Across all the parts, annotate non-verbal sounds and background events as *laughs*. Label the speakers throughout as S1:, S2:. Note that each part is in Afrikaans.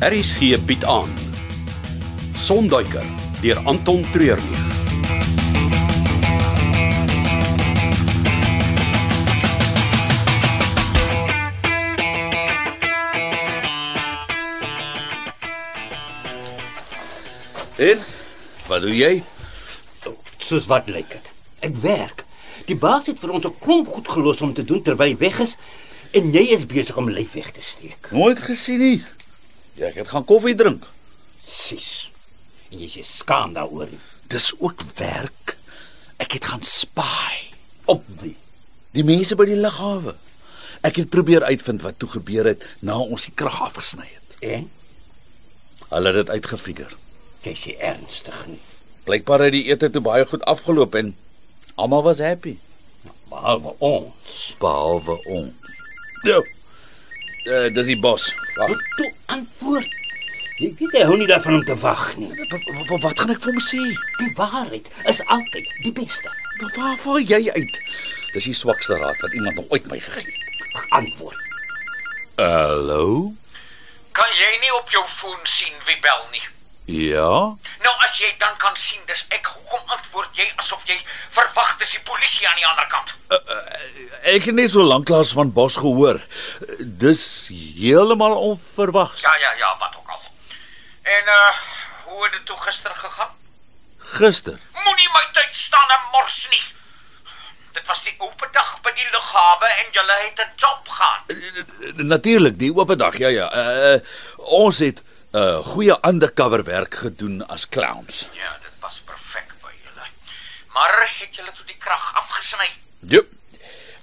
S1: Harris gee bied aan. Sonduiker deur Anton Treurnig.
S2: En wat doen jy?
S3: Soos wat lyk dit? Ek werk. Die baas het vir ons 'n klomp goed gelos om te doen terwyl hy weg is en jy is besig om lyf weg te steek.
S2: Nooit gesien nie. Ja, ek het gaan koffie drink.
S3: Sis. En jy is skaam daaroor. nie.
S2: Dis ook werk. Ek het gaan spy
S3: Op wie?
S2: die mense by die lughawe. Ek het probeer uitvind wat toe gebeur het na ons die krag afgesny het.
S3: En
S2: Hulle het dit uitgefigure.
S3: jy sê ernstig nie.
S2: Blykbaar het die ete toe baie goed afgeloop en almal was happy
S3: Behalwe ons.
S2: behalwe ons. Ja. Uh, dis die bos. Wag.
S3: Moet toe antwoord. Jy weet hy hou nie daarvan om te wag nie.
S2: Wa- wa- Wat gaan ek vir hom sê?
S3: Die waarheid is altyd die beste.
S2: Wa- Waar val jy uit? Dis die swakste raad wat iemand nog ooit my gegee het.
S3: Ag, Antwoord.
S2: Hallo?
S4: Kan jy nie op jou foon sien wie bel nie?
S2: Ja?
S4: Nou as jy dan kan sien, dis ek. Hoekom antwoord jy asof jy verwag dis die polisie aan die ander kant?
S2: Ek het net so lanklaas van Bos gehoor. Dis heeltemal onverwags.
S4: Ja, ja, ja, wat ook al. En uh hoe het dit toe gister gegaan?
S2: Gister.
S4: Moenie my tyd staan en mors nie. Dit was die open dag by die lughawe en julle het 'n job gehad.
S2: Natuurlik, die oop dag. Ja ja. Uh, ons het 'n uh, goeie undercover werk gedoen as clowns.
S4: Ja, dit was perfek by julle. Maar het julle toe die krag afgesny?
S2: Jep.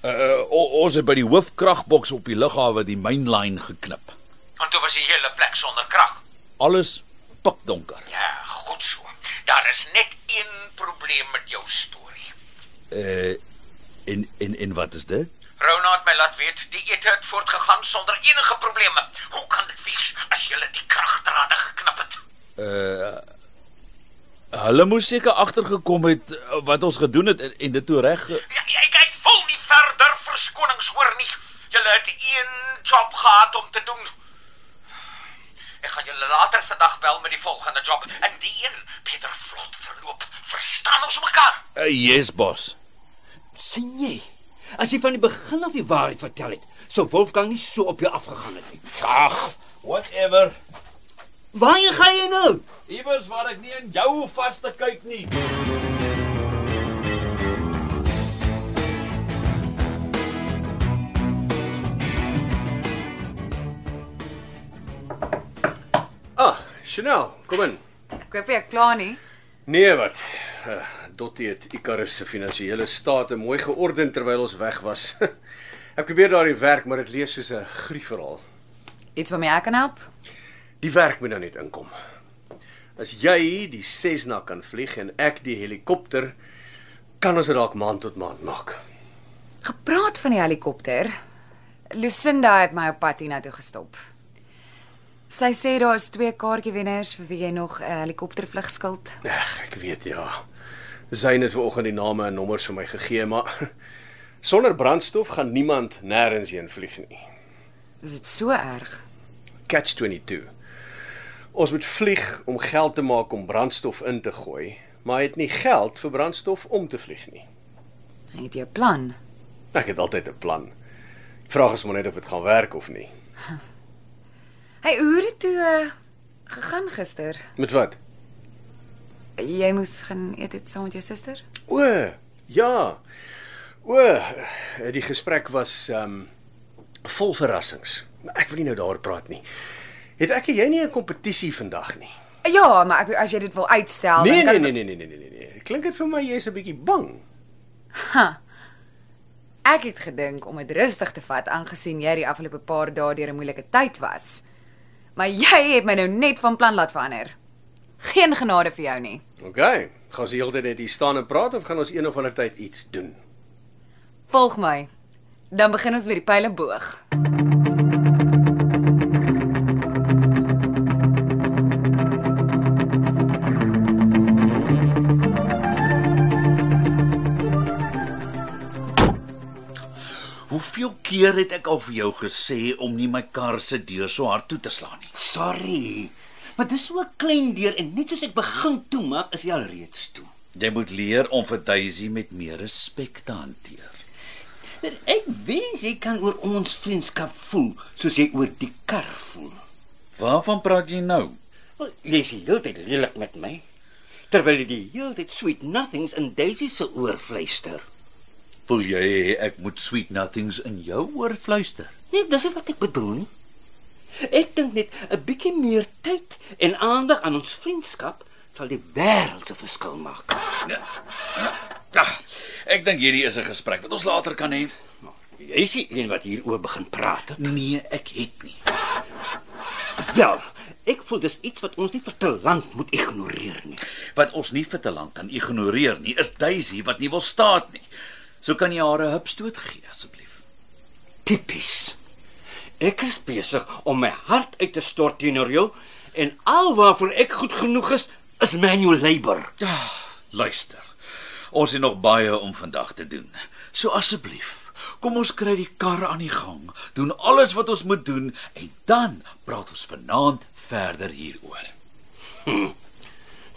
S2: Uh, o- ons het by die hoofkragboks op die lughawe die mainline geknip.
S4: Want toe was die hele plek sonder krag.
S2: Alles pikdonker.
S4: Ja, goed so. Daar is net een probleem met jou storie.
S2: Uh en en en wat is dit?
S4: Rona het my laat weet die ete het voortgegaan sonder enige probleme. Hoe kan dit wees as jy die kragdrade geknip het?
S2: Hulle moes seker agtergekom het eh, wat ons gedoen het en, en dit toe reg ge-
S4: Ja, ek ek wil nie verder verskonings hoor nie. Julle het een job gehad om te doen. Ek gaan julle later vandag bel met die volgende job en die een beter vlot verloop. Verstaan ons mekaar?
S2: Uh, yes, bos.
S3: sien jy? As jy van die begin af die waarheid vertel het, sou Wolfgang nie so op jou afgegaan het nie.
S2: Ag, whatever.
S3: Waarheen gaan jy nou?
S2: Iewers waar ek nie in jou vas te kyk nie.
S5: Ah, Chanel, kom in.
S6: Ek hoop jy is klaar nie.
S5: Nee, wat? Eh, Dottie het Icarus se finansiële state mooi georden terwyl ons weg was. *laughs* Ek probeer daardie werk, maar dit lees soos 'n griefverhaal.
S6: Iets waarmee ek kan help?
S5: Die werk moet nou net inkom. As jy die Cessna kan vlieg en ek die helikopter, kan ons dit dalk maand tot maand maak.
S6: Gepraat van die helikopter. Lucinda het my op pad hiernatoe gestop. Sy sê daar is twee kaartjiewenners vir wie jy nog 'n helikoptervlug skuld.
S5: Ag, ek weet ja. Syne het vanoggend die name en nommers vir my gegee, maar *laughs* sonder brandstof gaan niemand nêrens heen vlieg nie.
S6: Is dit so erg?
S5: catch 22. Ons moet vlieg om geld te maak om brandstof in te gooi, maar hy het nie geld vir brandstof om te vlieg nie.
S6: Hy het jou plan.
S5: Ek het altyd 'n plan. Die vraag is maar net of dit gaan werk of nie.
S6: Hy hoe het toe uh, gegaan gister?
S5: Met wat?
S6: Jy moes gaan eet dit saam met jou suster?
S5: O, ja. O, die gesprek was ehm um, vol verrassings. Maar ek wil nie nou daaroor praat nie. Het ek en jy nie 'n kompetisie vandag nie?
S6: Ja, maar ek, as jy dit wil uitstel,
S5: Nee,
S6: dan kan
S5: nee,
S6: ons-
S5: nee, nee, nee, nee, nee, nee. Klink dit vir my jy's 'n bietjie bang?
S6: Ek het gedink om dit rustig te vat aangesien jy die afgelope paar dae deur 'n moeilike tyd was. Maar jy het my nou net van plan laat verander. Geen genade vir jou nie.
S5: OK. Gaan ons die hele tyd net hier staan en praat of gaan ons een of ander tyd iets doen?
S6: Volg my. Dan begin ons met die pyleboog.
S2: Hoeveel keer het ek al vir jou gesê om nie my kar se deur so hard toe te slaan nie?
S3: sorry. Maar dis so 'n klein deur en net soos ek begin toemaak, is hy al reeds toe.
S2: Jy moet leer om vir Daisy met meer respek te hanteer.
S3: En Ek wens jy kan oor ons vriendskap voel soos jy oor die kar voel.
S2: Waarvan praat jy nou?
S3: Wel, Jy is die hele tyd lelik met my. Terwyl jy die hele tyd sweet nothings in Daisy se oor fluister.
S2: Wil jy hê ek moet sweet nothings in jou oor fluister?
S3: Nee, dis nie wat ek bedoel nie. Ek dink net 'n bietjie meer tyd en aandag aan ons vriendskap sal die wêreld se verskil maak.
S2: Ag, ek dink hierdie is 'n gesprek wat ons later kan hê.
S3: Jy is die een wat hieroor begin praat. hè?
S2: Nee, ek het nie.
S3: Wel, ek voel dis iets wat ons nie vir te lank moet ignoreer nie.
S2: Wat ons nie vir te lank kan ignoreer nie, is Daisy wat nie wil staat nie. So kan jy haar 'n hupstoot gee asseblief.
S3: Tipies. Ek is besig om my hart uit te stort teenoor jou en alwaarvoor ek goed genoeg is, is manual labor.
S2: Ja, luister. Ons het nog baie om vandag te doen. So asseblief, kom ons kry die kar aan die gang, doen alles wat ons moet doen en dan praat ons vanaand verder hieroor.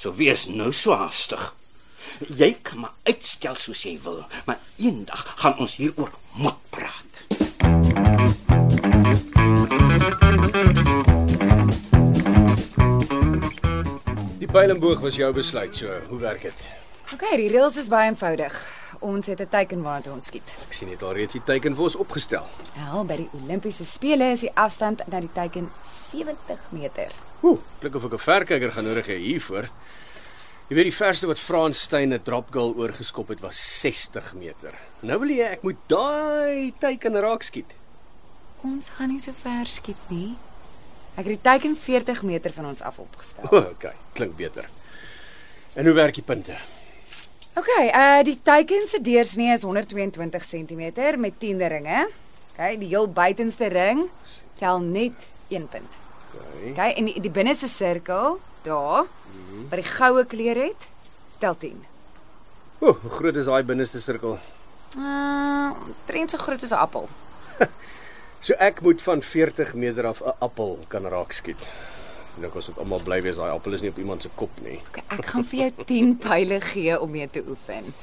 S3: So wees nou so haastig. Jy kan maar uitstel soos jy wil, maar eendag gaan ons hieroor moet praat.
S5: Die Pylenboog was jou besluit, so hoe werk dit?
S6: Okay, die reëls is baie eenvoudig. Ons het 'n teiken waarna toe ons skiet.
S5: Ek sien dit al reeds die teiken vir ons opgestel.
S6: Wel, by die Olimpiese spele is die afstand na die teiken 70 meter.
S5: Ooh, klink of ek 'n verkyker gaan nodig hê hiervoor. Jy weet die verste wat Frans Steyn 'n dropgoal oorgeskop het was 60 meter. Nou wil jy ek moet daai teiken raak skiet. *laughs*
S6: Ons gaan nie so ver skiet nie. Ek het die teiken 40 meter van ons af opgestel.
S5: O, okay, klink beter. En hoe werk die punte?
S6: Okay, uh die teiken se deursnee is 122 cm met 10 ringe. Okay, die heel buitenste ring tel net 1 punt.
S5: Okay.
S6: Okay, en die, die binneste sirkel daar wat die goue kleur het, tel 10.
S5: Ooh, hoe groot is daai binneste sirkel?
S6: Uh, omtrent so groot as 'n appel.
S5: So ek moet van 40 meter af 'n appel kan raak skiet. Ek Dink ons moet almal bly wees daai appel is nie op iemand se kop nie.
S6: Okay, ek gaan vir jou 10 pile gee om mee te oefen.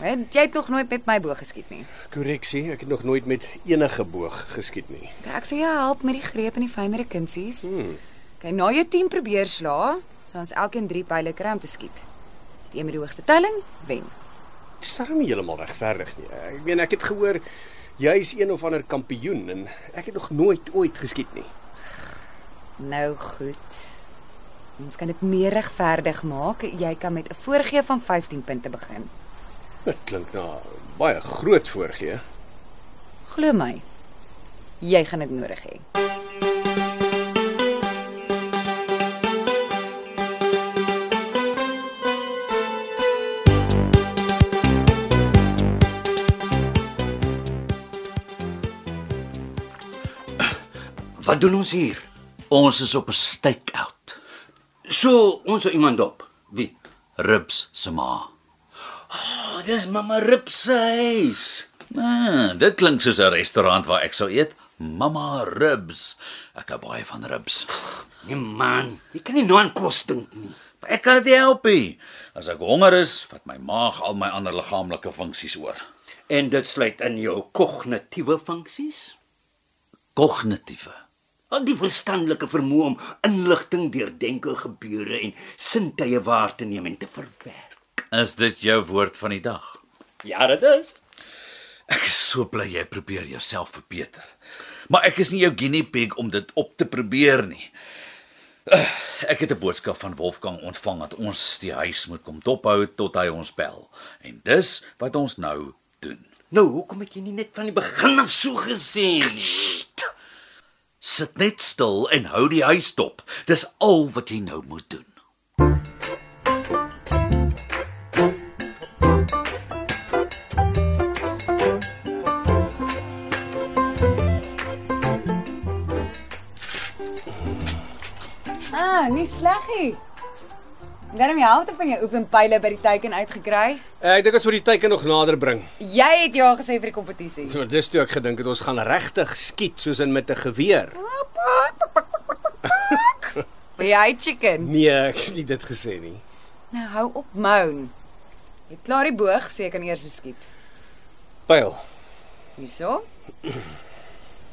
S6: Want jy het nog nooit met my boog geskiet nie.
S5: Korreksie, ek het nog nooit met enige boog geskiet nie.
S6: Okay, ek sê jy help met die greep en die fynere kunsies. Hmm. Okay, na jou 10 probeer sla, sal ons elkeen 3 pile kry om te skiet. Die een met die hoogste telling wen.
S5: Dit is darem nie heeltemal regverdig nie. Ek meen ek het gehoor jy's een of ander kampioen en ek het nog nooit ooit geskiet nie.
S6: Nou goed. Ons kan dit meer regverdig maak. Jy kan met 'n voorgee van 15 punte begin.
S5: Dit klink na baie groot voorgee.
S6: Glo my. Jy gaan dit nodig hê.
S3: Wat doen ons hier?
S2: Ons is op 'n stakeout.
S3: So ons hou iemand op. Wie?
S2: Ribs se ma.
S3: Oh, dis mamma Rip se huis.
S2: Ah, dit klink soos 'n restaurant waar ek sou eet. Mamma ribs. Ek hou baie van ribs.
S3: Nee man, jy kan nie nou aan kos dink nie.
S2: Maar ek kan dit nie help nie. As ek honger is, vat my maag al my ander liggaamlike funksies oor.
S3: En dit sluit in jou kognitiewe funksies,
S2: Kognitiewe.
S3: al die verstandelike vermoë om inligting deur denke, gebeure en sintuie waar te neem en te verwerk.
S2: Is dit jou woord van die dag?
S3: Ja, dit is.
S2: Ek is so bly jy probeer jouself verbeter. Maar ek is nie jou guinea pig om dit op te probeer nie. Ugh, Ek het 'n boodskap van Wolfgang ontvang dat ons die huis moet kom dophou tot hy ons bel. En dis wat ons nou doen.
S3: Nou, hoekom het jy nie net van die begin af so gesê nie?
S2: Sit net stil en hou die huis dop. Dis al wat jy nou moet doen.
S6: Ah, nie sleg nie. Daarom jy helfte van jou oefenpyle by die teiken uitgekry.
S5: Eh, Ek dink ons moet die teiken nog nader bring.
S6: Jy het ja gesê vir die kompetisie.
S5: So dis toe ek gedink het ons gaan regtig skiet soos in met 'n geweer.
S6: Wil jy chicken?
S5: Nee, ek het nie dit gesê nie.
S6: Nou hou op moan. Jy het klaar die boog, so jy kan eers skiet.
S5: Pyl.
S6: Hierso.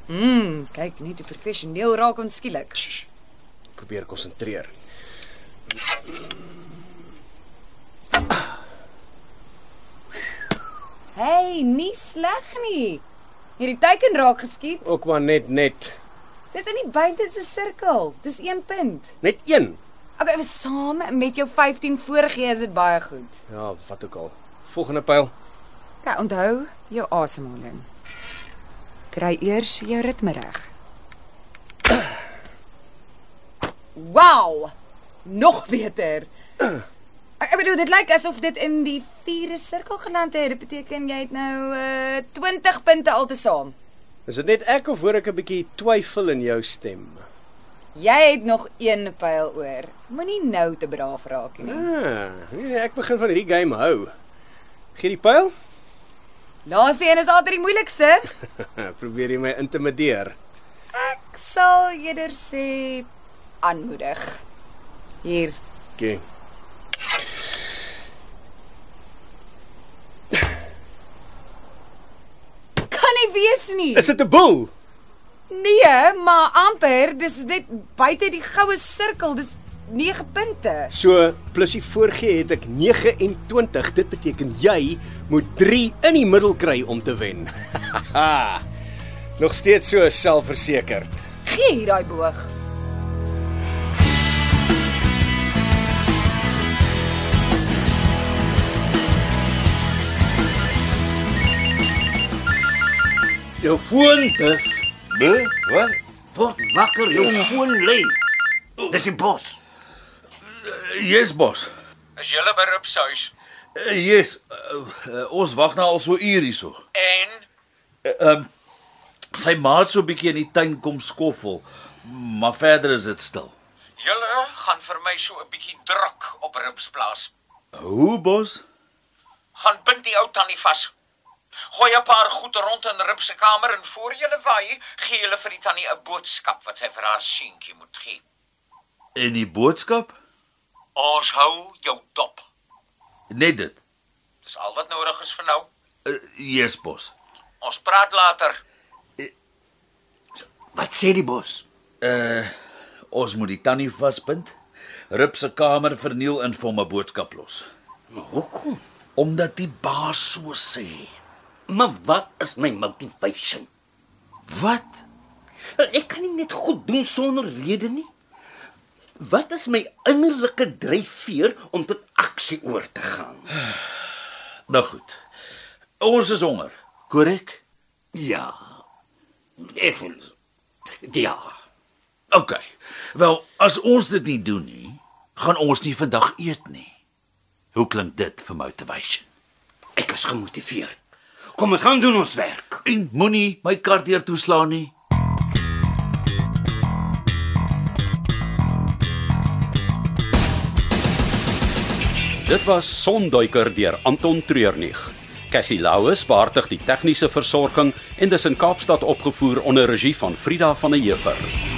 S6: Mm, kyk net hoe professioneel raak ons skielik.
S5: Probeer konsentreer.
S6: Hey, nie sleg nie. Hierdie teiken raak geskiet.
S5: Ook maar net net
S6: Dis in die buitenste sirkel. Dis 1 punt.
S5: net een.
S6: Okay, was saam met jou 15 vorige is dit baie goed.
S5: Ja, wat ook al. Volgende pyl.
S6: Okay, Ja, onthou jou asemhaling. Kry eers jou ritme reg. *clears throat* Wow! Nog beter. *clears throat* Ek ek bedoel dit lyk asof dit in die vierde sirkel geland het. Dit beteken jy het nou uh, 20 punte altesaam.
S5: Is dit net ek of hoor ek 'n bietjie twyfel in jou stem?
S6: Jy het nog een pyl oor. Moenie nou te braaf raak nie.
S5: Ah, nee, ek begin van hierdie game hou. Gee die pyl?
S6: Laaste een is altyd die moeilikste.
S5: *laughs* Probeer jy my intimideer?
S6: Ek sal eerder sê aanmoedig. Hier.
S5: Okay.
S6: Kan nie wees nie.
S5: Is dit 'n boel?
S6: Nee, maar amper, dis net buite die goue sirkel. Dis 9 punte.
S5: So plus die voorgee het ek 29. Dit beteken jy moet 3 in die middel kry om te *laughs* wen. Nog steeds so selfversekerd.
S6: Gee hier daai boog.
S3: Jou foon duf.
S2: Nee, wat?
S3: Word wakker, jou foon lê. Dis die bos.
S2: Yes, bos.
S4: Is julle by Rupsuis
S2: Eh, Yes. eh, eh, Ons wag nou al so uur hierso. Eh, ehm,
S4: en
S2: Sy maat so 'n bietjie in die tuin kom skoffel, maar verder is dit stil.
S4: julle gaan vir my so 'n bietjie druk op Rupsplaas.
S2: Hoe, bos?
S4: Gaan bind die ou tannie vas. Gooi 'n paar goed rond in Rup se kamer en voor julle waai, gee julle vir die tannie 'n boodskap wat sy vir haar seentjie moet gee.
S2: En die boodskap?
S4: Ons hou jou dop.
S2: Net dit.
S4: Dis al wat nodig is vir nou.
S2: Eh, Yes, bos.
S4: Ons praat later.
S3: Wat sê die bos?
S2: Ons moet die tannie vaspind. Rip se kamer verniel in vir hom 'n boodskap los,
S3: Maar Nou, hoekom?
S2: omdat die baas so sê.
S3: Maar wat is my motivation?
S2: Wat?
S3: Wel, Ek kan nie net goed doen sonder rede nie. Wat is my innerlike dryfveer om tot aksie oor te gaan?
S2: Nou goed. Ons is honger. Korrek?
S3: Ja. Effens. Ja.
S2: OK. Wel, as ons dit nie doen nie, gaan ons nie vandag eet nie. Hoe klink dit vir motivation?
S3: Ek is gemotiveerd. Kom ons gaan doen ons werk.
S2: En moenie my kar deur toeslaan nie.
S1: Dit was Sonduiker deur Anton Treurnig. Cassie Louws beheerdig die tegniese versorging en dis in Kaapstad opgevoer onder regie van Frida van der Heever.